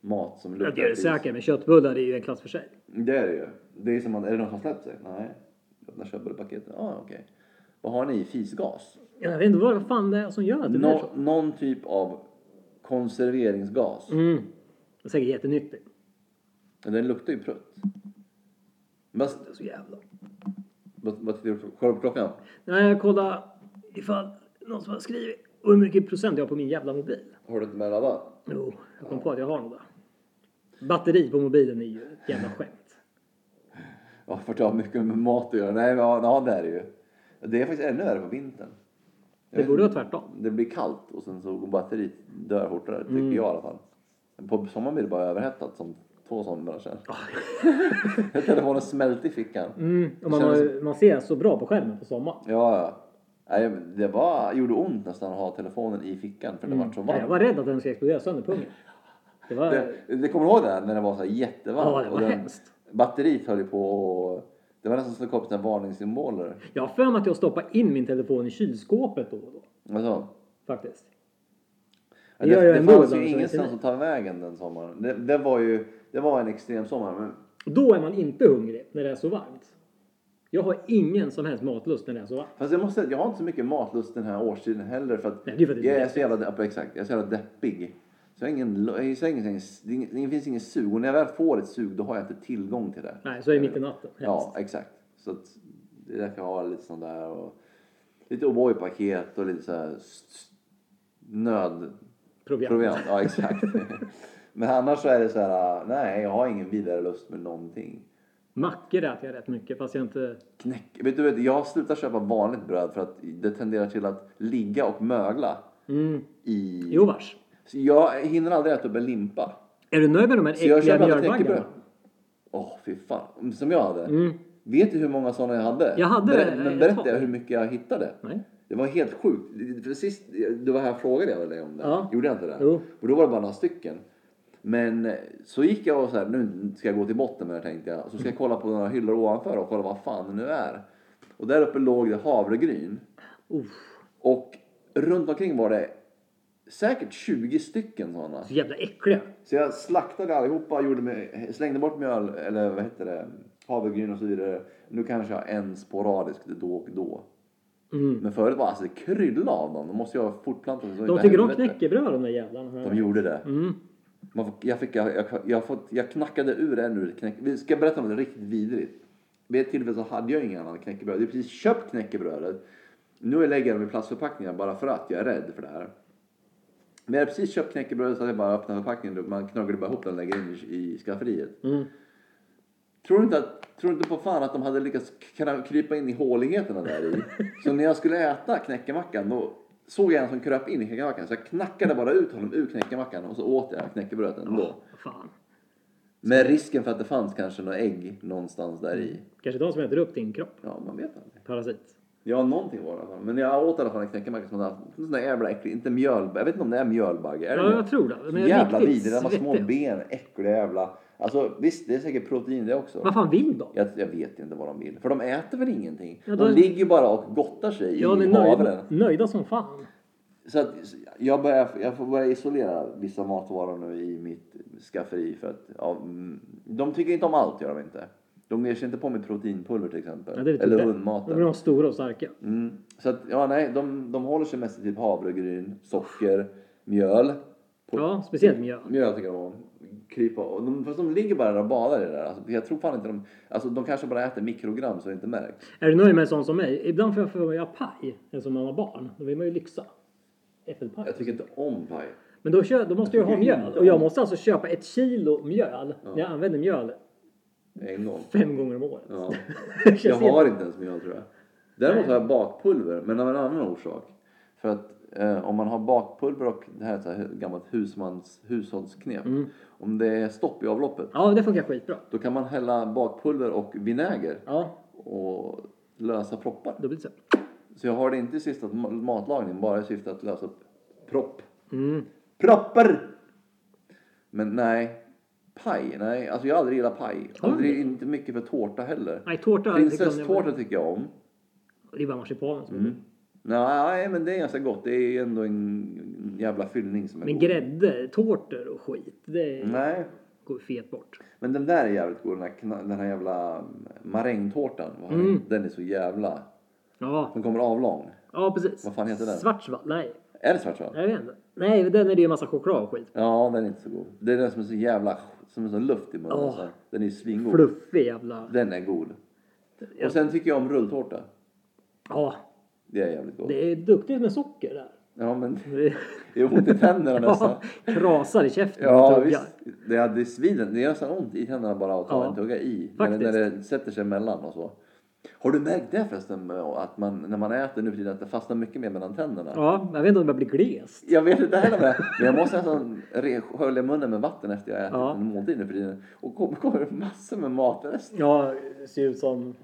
S3: mat som luktar
S2: Det är det
S3: fis?
S2: säkert, men köttbullar är ju en klass för sig.
S3: Det är det ju. Det är som att, är det någon som släppt sig? Nej. Öppna köttbullepaketet? Ja, ah, okej. Vad har ni i fisgas?
S2: Jag vet inte vad fan det är som gör att det blir
S3: Nå,
S2: så.
S3: någon typ av konserveringsgas.
S2: Mm. Det är säkert jättenyttigt.
S3: Men Den luktar ju prutt. Vad,
S2: Det är så jävla...
S3: vad, vad tittar du på? Kolla på klockan.
S2: Nej, jag kollar ifall någon som har skrivit och hur mycket procent jag har på min jävla mobil.
S3: Har du inte med ladda?
S2: Jo, jag kom på att jag har nog det. Batteri på mobilen är ju ett jävla skämt.
S3: Ja, för att jag har mycket med mat att göra. Nej, men ja, ja, det är det ju. Det är faktiskt ännu värre på vintern. Jag
S2: Det
S3: vet
S2: borde vara
S3: inte.
S2: tvärtom.
S3: Det blir kallt och sen så går batteriet dör fortare, tycker
S2: Mm.
S3: jag i alla fall. Men På sommaren blir det bara överhettat som två somrar sedan. Telefonen smälte i fickan.
S2: Ah. Mm. Och man,
S3: Det
S2: har,
S3: kändes-
S2: ju- man ser så bra på skärmen på sommaren.
S3: Ja, ja. Nej, men det var, gjorde ont nästan att ha telefonen i fickan för det var så
S2: Mm. Nej, Jag
S3: varmt.
S2: var rädd att den skulle explodera sönder pungen. Det var...
S3: Det, det kommer du ihåg det här, när det var så här jättevarmt?
S2: Ja, det var
S3: och den,
S2: hemskt.
S3: Batteriet höll ju på och, Det var nästan som det kom upp såna här varningssymboler.
S2: Jag har för mig att jag stoppar in min telefon i kylskåpet då och då.
S3: Alltså,
S2: Faktiskt.
S3: Ja,
S2: Det gör
S3: Det,
S2: jag
S3: det
S2: ändå
S3: fanns
S2: ibland,
S3: ju
S2: så
S3: ingenstans
S2: det-
S3: att ta vägen den sommaren. Det, det var ju det var en extrem sommar. Men
S2: Och då är man inte hungrig när det är så varmt. Jag har ingen som helst matlust när det är så varmt.
S3: fast jag måste säga att jag har inte så mycket matlust den här årstiden heller. För att
S2: Nej, det är för att det är
S3: jag är
S2: deppigt.
S3: så jävla, depp- exakt, jag är så jävla deppig. Så jag har ingen, jag är så ingen, det är ingen- det finns ingen sug. Och när jag väl får ett sug då har jag inte tillgång till det.
S2: Nej, så är det mitt i natten.
S3: Ja, exakt. Så att, det är därför jag har lite sånt där. Och, lite O'boy-paket och lite så här s- s- nöd...
S2: Proviant.
S3: Proviant, ja exakt. Men annars så är det så här, nej jag har ingen vidare lust med någonting.
S2: Mackor äter jag rätt mycket fast jag inte...
S3: Knäck. Vet du, vet, du, jag slutar köpa vanligt bröd för att det tenderar till att ligga och mögla
S2: Mm.
S3: i...
S2: Jo vars.
S3: Så jag hinner aldrig äta upp en limpa.
S2: Är du nöjd med de här
S3: Så jag
S2: äckliga
S3: köper aldrig knäckebröd.
S2: mjölbaggarna?
S3: Åh, fy fan. Som jag hade.
S2: Mm.
S3: Vet du hur många sådana jag hade?
S2: Jag hade eh, det,
S3: Berä- men
S2: ett
S3: berätta
S2: tag.
S3: hur mycket jag hittade.
S2: Nej.
S3: Det var helt sjukt. För sist, du var här och frågade jag väl dig om det?
S2: Ja.
S3: Gjorde jag inte det?
S2: Jo.
S3: Och då var det bara några stycken. Men eh, så gick jag och så här, nu ska jag gå till botten med det här, tänkte jag. Så ska jag kolla på några hyllor ovanför och kolla vad fan det nu är. Och där uppe låg det havregryn.
S2: Uff,
S3: Och runt omkring var det säkert 20 stycken sådana.
S2: så jävla äckliga.
S3: Så jag slaktade allihopa, gjorde mig, slängde bort mjöl, eller vad heter det, havregryn och så vidare. Nu kanske jag har en sporadisk då och då.
S2: Mm.
S3: Men förut var alltså det krylla av dem. De måste ju ha fortplantat sig. så in
S2: De
S3: i
S2: tycker om
S3: helvete.
S2: knäckebröd de där jävlarna.
S3: De gjorde det.
S2: Mm.
S3: Man, får- jag, fick, jag, jag, jag, fått, jag knackade ur en ur ett knäck... Vi ska berätta om det riktigt vidrigt. Vid ett tillfälle så hade jag inga annan knäckebröd. Jag hade precis köpt knäckebrödet. Nu lägger jag dem i plastförpackningar bara för att jag är rädd för det här. Men jag hade precis köpt knäckebrödet så hade jag bara öppnat förpackningen. Man knaggade bara ihop den och lägger in i, i skafferiet.
S2: Mm.
S3: Tror du inte, att, tror du inte på fan att de hade lyckats kra- krypa in i håligheterna där i? Så när jag skulle äta knäckemackan då såg jag en som kröp in i knäckemackan så jag knackade bara ut honom ur knäckemackan och så åt jag knäckebrödet ändå.
S2: Fan.
S3: Med risken för att det fanns kanske några ägg någonstans där i.
S2: Kanske de som äter upp din kropp.
S3: Ja, man vet aldrig.
S2: Parasit.
S3: Ja, någonting var det i alla fall. Men jag åt i alla fall en knäckemacka som hade haft en sån där jävla äcklig, inte mjölbagge, jag vet inte om det är mjölbagge. Är det
S2: Ja,
S3: det?
S2: jag tror det. Men
S3: jävla
S2: riktigt
S3: vidriga, de har små
S2: svettiga.
S3: ben, äckliga jävla. Alltså visst, det är säkert protein det också.
S2: Vad fan vill de?
S3: Jag, jag vet inte vad de vill, för de äter väl ingenting?
S2: Ja, då-
S3: De ligger ju bara och gottar sig
S2: Ja, de
S3: i
S2: är
S3: havren.
S2: nöjda, nöjda som fan.
S3: Så att jag, börjar, jag får börja isolera vissa matvaror nu i mitt skafferi för att ja, mm, de tycker inte om allt, gör de inte. De ger sig inte på med proteinpulver till exempel.
S2: Ja, det är typ
S3: eller
S2: det.
S3: hundmaten.
S2: De är de stora och starka.
S3: Mm. Så att, ja, nej, de, de håller sig mest till typ havregryn, socker, mjöl.
S2: Ja, speciellt mjöl.
S3: Mjöl tycker de om. Krypa och de, fast de ligger bara där och badar i det där. Alltså, jag tror fan inte de... Alltså de kanske bara äter mikrogram så det inte märks.
S2: Är du nöjd med en sån som mig? Ibland får jag för mig att ha paj, eftersom man har barn. Då vill man ju lyxa. Äppelpaj.
S3: Jag tycker inte om paj.
S2: Men då, kö- då måste jag ju ha
S3: tycker
S2: mjöl.
S3: inte
S2: Och jag
S3: om-
S2: måste alltså köpa ett kilo mjöl. Jag använder mjöl
S3: En gång.
S2: fem gånger om året.
S3: Ja.
S2: Det känns
S3: Jag
S2: helt-
S3: har inte ens mjöl tror jag. Däremot har jag bakpulver, men av en annan orsak. För att eh, om man har bakpulver och det här är ett så här hu- gammalt husmans, hushållsknep.
S2: Mm.
S3: Om det är stopp i avloppet,
S2: Ja, det funkar skitbra.
S3: då kan man hälla bakpulver och vinäger
S2: Ja,
S3: och lösa proppar.
S2: då blir det så.
S3: Så jag har det inte i syfte att ma- matlagning, bara i syfte att lösa upp propp.
S2: Mm.
S3: Proppar! Men nej, paj, nej. Alltså jag har aldrig gillat paj.
S2: Har du
S3: Aldrig, inte mycket för tårta heller.
S2: Nej, tårta.
S3: Prinsesstårta tycker jag om.
S2: Det är bara marsipanen som
S3: Mm. Nej, men det är ganska gott. Det är ju ändå en jävla fyllning som är
S2: Men
S3: god.
S2: grädde, tårtor och skit. Det
S3: Nej,
S2: går fet bort.
S3: men den där är jävligt god. Den här, kna- den här jävla marängtårtan. vad har den-
S2: Mm.
S3: Den är så jävla...
S2: Ja,
S3: Den kommer avlång.
S2: ja precis.
S3: Vad fan heter den?
S2: Svartsvall? Nej,
S3: Är det svartsalt?
S2: jag vet inte. Nej, den är det ju massa choklad och skit.
S3: Ja, den är inte så god. Det är den som är så jävla... Som är så luft i munnen.
S2: Åh.
S3: så här. Den är ju svingod.
S2: Fluffig jävla...
S3: Den är god.
S2: Ja.
S3: Och sen tycker jag om rulltårta.
S2: Ja,
S3: Det är jävligt gott.
S2: det är duktigt med socker där.
S3: Ja, men
S2: Det-
S3: det är ont i tänderna nästan.
S2: Ja, krasar i käften
S3: Ja,
S2: och tuggar.
S3: visst. Det, är- det är sviden. Det gör nästan ont i tänderna bara att ta
S2: Ja,
S3: en tugga i. När det, när det sätter sig emellan och så. Har du märkt det förresten med att man, när man äter nu för tiden att det fastnar mycket mer mellan tänderna?
S2: Ja, jag vet inte om jag blir gles.
S3: Jag vet inte heller vad det är, men jag måste nästan re- skölja munnen med vatten efter jag har ätit
S2: Ja.
S3: en måltid nu för tiden. Och kommer kommer det massor med matrester.
S2: Ja, ser ut som...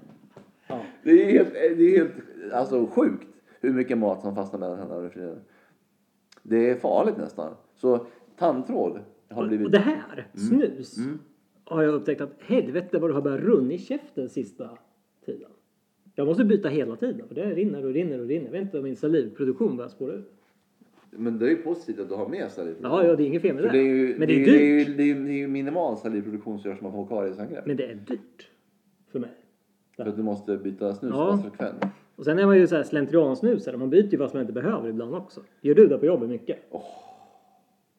S2: Ja.
S3: Det är helt, det är helt alltså, sjukt hur mycket mat som fastnar mellan tänderna nu för tiden. Det är farligt nästan. Så tandtråd har
S2: Och
S3: blivit... Mm.
S2: det här, snus, har jag upptäckt att helvete vad det har börjat runna i käften sista tiden. Jag måste byta hela tiden för det rinner och rinner och rinner. Jag vet inte om min salivproduktion börjar spåra ur.
S3: Men det är ju positivt att du har med sig det.
S2: Ja, ja, det är inget fel med
S3: För
S2: det.
S3: det är ju,
S2: men
S3: det
S2: det är
S3: ju, det är
S2: dyrt.
S3: ju, det är ju, det är ju minimal salivproduktion som görs om man får kariesangrepp.
S2: Men det är dyrt för mig.
S3: För att du måste byta snus
S2: Ja.
S3: ja. frekvent.
S2: Och sen är man ju så här slentriansnusare. Man byter ju vad som man inte behöver ibland också. Gör du det på jobbet mycket?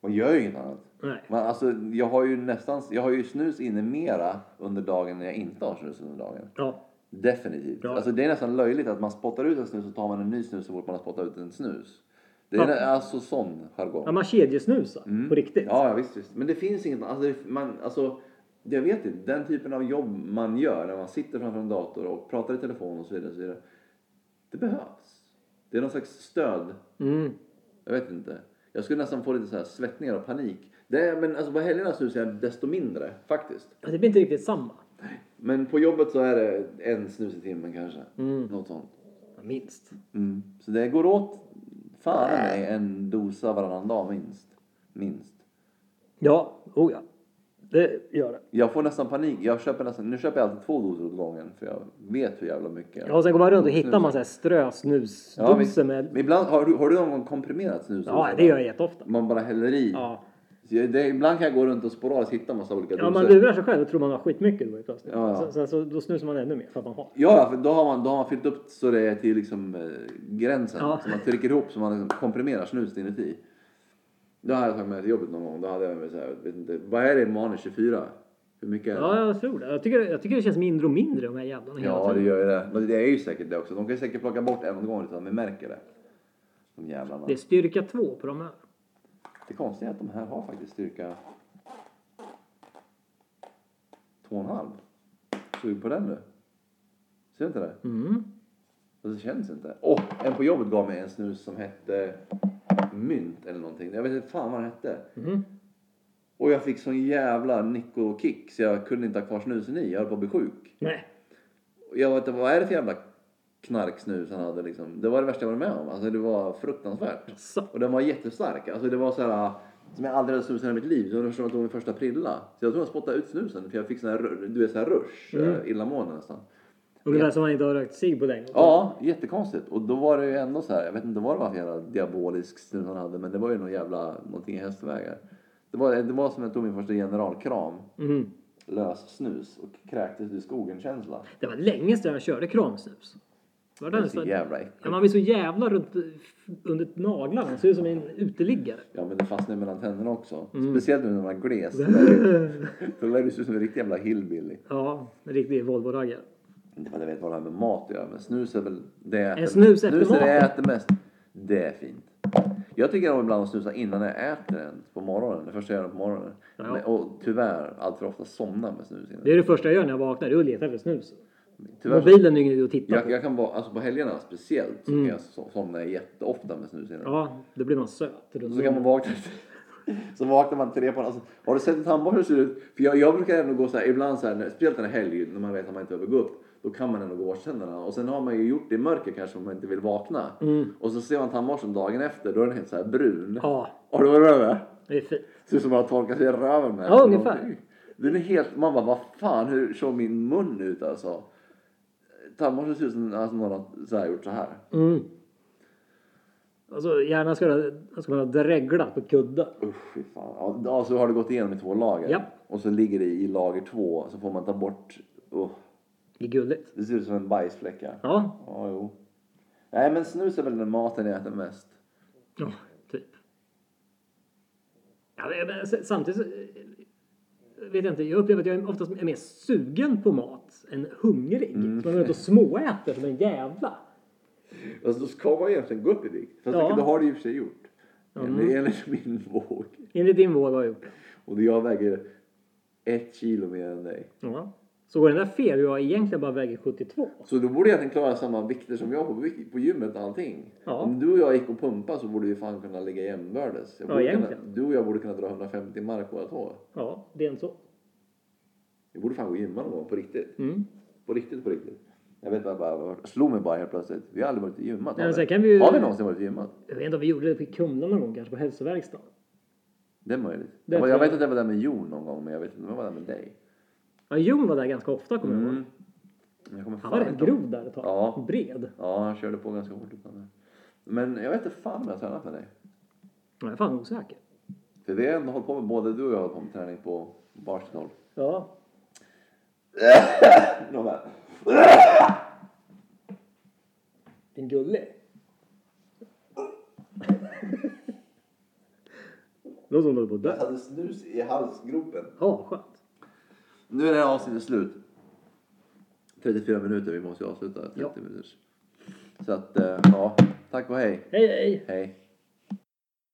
S3: Man gör ju inget annat.
S2: Nej.
S3: Man, alltså, jag har ju nästan, jag har ju snus inne mera under dagen när jag inte har snus under dagen.
S2: Ja.
S3: Definitivt.
S2: Ja.
S3: Alltså, det är nästan löjligt att man spottar ut en snus och tar man en ny snus så fort man har spottat ut en snus. Det är
S2: Ja.
S3: nä- alltså sån jargong.
S2: ja man kedjesnusar på riktigt.
S3: Mm. Ja, ja, visst, visst. Men det finns inget alltså, det- man, alltså, Jag vet inte, den typen av jobb man gör när man sitter framför en dator och pratar i telefon och så vidare. Och så vidare det behövs. Det är någon slags stöd.
S2: Mm.
S3: Jag vet inte. Jag skulle nästan få lite så här svettningar och panik Det är, men alltså på helgerna snusar jag desto mindre faktiskt.
S2: Ja, Det blir inte riktigt samma.
S3: Men på jobbet så är det en snus i timmen kanske. Något sånt.
S2: Minst.
S3: Mm. Så det går åt fan i mig en dosa varannan dag minst. Minst.
S2: Ja, oh ja. Det gör det.
S3: Jag får nästan panik. Jag köper nästan, nu köper jag alltid två doser åt gången för jag vet hur jävla mycket jag
S2: Ja, och sen går man
S3: Mm.
S2: runt och hittar man så här strösnusdosor med...
S3: men ibland, har, du, har du någon gång komprimerat snus?
S2: Ja, det gör jag jätteofta.
S3: Man bara häller i.
S2: Ja.
S3: Så jag- Det, ibland kan jag gå runt och sporadiskt hitta massa olika
S2: Ja,
S3: doser.
S2: man lurar sig själv och tror man har skitmycket då i plötsligt.
S3: Ja, ja.
S2: Sen, sen så då snusar man ännu mer för att man har.
S3: Ja, ja, för då har, man, då har man fyllt upp så det är till liksom, eh, gränsen.
S2: Ja.
S3: Så man trycker ihop så man liksom komprimerar snuset inuti. Det har jag tagit med till jobbet någon gång. Då hade jag med så här, vet inte, vad är det i manus 24? Hur mycket är det?
S2: Ja, jag tror det. Jag tycker, jag tycker det känns mindre och mindre de här jävlarna hela
S3: Ja, det
S2: tiden.
S3: gör ju det. Men det är ju säkert det också. De kan ju säkert plocka bort en åt gången utan att vi märker det. De jävlarna.
S2: Det är styrka två på de här.
S3: Det konstiga är att de här har faktiskt styrka... 2,5. Sug på den nu. Ser du inte det?
S2: Mm.
S3: Och det känns inte. Och en på jobbet gav mig en snus som hette mynt eller någonting. Jag vet inte fan vad den hette.
S2: Mhm.
S3: Och jag fick sån jävla nick och kick så jag kunde inte ha kvar snusen i. Jag höll på att bli sjuk.
S2: Nej.
S3: Och jag vet inte, vad är det för jävla knarksnus han hade liksom. Det var det värsta jag varit med om. Alltså det var fruktansvärt.
S2: Så.
S3: Och den var jättestark. Alltså det var så här som jag aldrig hade snusat i hela mitt liv. Så det var som att det var min första prilla. Så jag tror jag spottade ut snusen för jag fick sån här, ru- du vet, sån här rush. Mm. Illamående nästan.
S2: Och det där som man inte har rökt cigg på länge.
S3: Ja, jättekonstigt. Och då var det ju ändå så här, jag vet inte vad det var för jävla diabolisk snus han hade, men det var ju någon jävla, någonting i hästvägar. Det var, det var som jag tog min första generalkram,
S2: Mhm.
S3: lös snus och kräktes i skogen känsla.
S2: Det var länge sedan jag körde kramsnus. Var
S3: Det
S2: det
S3: är så
S2: nästan-
S3: jävla
S2: ja,
S3: äckligt.
S2: man blir så jävla runt under naglarna. Man ser ut som en uteliggare.
S3: Ja men det fastnade mellan tänderna också.
S2: Mm.
S3: Speciellt nu när man är gles. Då lär- Då lär du se ut som en riktig jävla hillbilly.
S2: Ja, en riktig Volvo-raggare.
S3: Inte för att jag vet vad det har med mat att göra men snus är väl det jag äter,
S2: En snus efter
S3: är det jag
S2: maten.
S3: äter mest. Det är fint. Jag tycker om ibland att snusa innan jag äter den på morgonen. Det första jag gör på morgonen.
S2: Ja.
S3: Men, och tyvärr allt för ofta somnar med snus innan.
S2: Det är det första jag gör när jag vaknar. Det är att leta efter snus.
S3: Tyvärr, så-
S2: Mobilen är ingen idé att titta
S3: jag,
S2: på.
S3: jag kan bara, alltså på helgerna speciellt så kan jag so- somna jätteofta med snus innan.
S2: Ja, då blir man söt. runt
S3: Så kan
S2: munnen.
S3: man vakna Så vaknar man tre på alltså, Har du sett en tandborste hur det ser ut? För jag, jag brukar ändå gå så här, ibland så här, när- speciellt en helg när man vet att man inte behöver gå upp. Då kan man ändå gå och borsta tänderna. Och sen har man ju gjort det i mörker kanske om man inte vill vakna. Och så ser man tandborsten dagen efter, då är den helt så här brun.
S2: Mm. Ja,
S3: Har du varit med?
S2: det är fint.
S3: Ser ut som man har torkat sig i röven med.
S2: Ja, ungefär.
S3: Den är helt, man bara, vad fan, hur såg min mun ut alltså? Tandborsten ser ut som alltså, någon har så här, gjort så här.
S2: Mm. Alltså, gärna ska, det, ska man ha dreglat på kuddar.
S3: Usch, fy fan. Ja, Ja, så har det gått igenom i två lager.
S2: Ja.
S3: Och så ligger det i lager två, så får man ta bort... Uh,
S2: Det är gulligt.
S3: det ser ut som en bajsfläck. Ja,
S2: Ja,
S3: Ja, jo. Nej, men snus är väl den maten jag äter mest.
S2: ja typ. Ja, men- men s- samtidigt så, eh, vet jag inte, jag upplever att jag är oftast är mer sugen på mat än hungrig.
S3: Mm.
S2: Så man går ut och småäter som en jävla.
S3: Alltså, då ska man egentligen gå upp i vikt. Fast
S2: Ja. Mm.
S3: det har det i och för sig gjort. Enligt, enligt min våg.
S2: Enligt din våg har jag gjort det.
S3: Och jag väger ett kilo mer än dig.
S2: Ja. Så går den där fel och jag egentligen bara väger 72.
S3: Så då borde jag egentligen klara samma vikter som jag på, vik- på gymmet och allting.
S2: Ja.
S3: Om du och jag gick och pumpade så borde vi fan kunna ligga jämbördes. Jag
S2: Ja,
S3: borde kunna,
S2: egentligen.
S3: du och jag borde kunna dra 150 mark båda två.
S2: Ja, det är en så.
S3: Vi borde fan gå och gymma någon gång på riktigt.
S2: Mm.
S3: På riktigt, på riktigt. Jag vet bara, bara slog mig bara helt plötsligt. Vi har aldrig varit i gymmat.
S2: Nej, men
S3: har vi?
S2: sen kan vi ju-
S3: Har vi någonsin varit i gymmat?
S2: Jag vet inte om vi gjorde det i Kumla någon gång kanske, på hälsoverkstaden.
S3: Det är möjligt.
S2: Det
S3: jag,
S2: tror
S3: jag
S2: jag.
S3: vet att jag var där med Jon någon gång, men jag vet inte om jag var där med dig.
S2: Ja, Jon var där ganska ofta kommer jag ihåg.
S3: Mm. Jag kommer
S2: Han
S3: fan
S2: var rätt
S3: inte
S2: grov där ett tag.
S3: Ja.
S2: Bred.
S3: Ja, han körde på ganska hårt. utan det. Men jag vet inte fan om jag har tränat med dig.
S2: Jag är fan osäker.
S3: För vi har ändå hållit på med, både du och jag har hållit på med träning på varsitt håll.
S2: Ja.
S3: Nåväl.
S2: Din gullig. Någon som håller på att dö.
S3: hade snus i halsgropen.
S2: Ja, skönt.
S3: Nu är det här avsnittet slut. 34 minuter, vi måste ju avsluta 30
S2: Ja.
S3: minuters. Så att, eh, ja. Tack och hej.
S2: Hej, hej!
S3: Hej.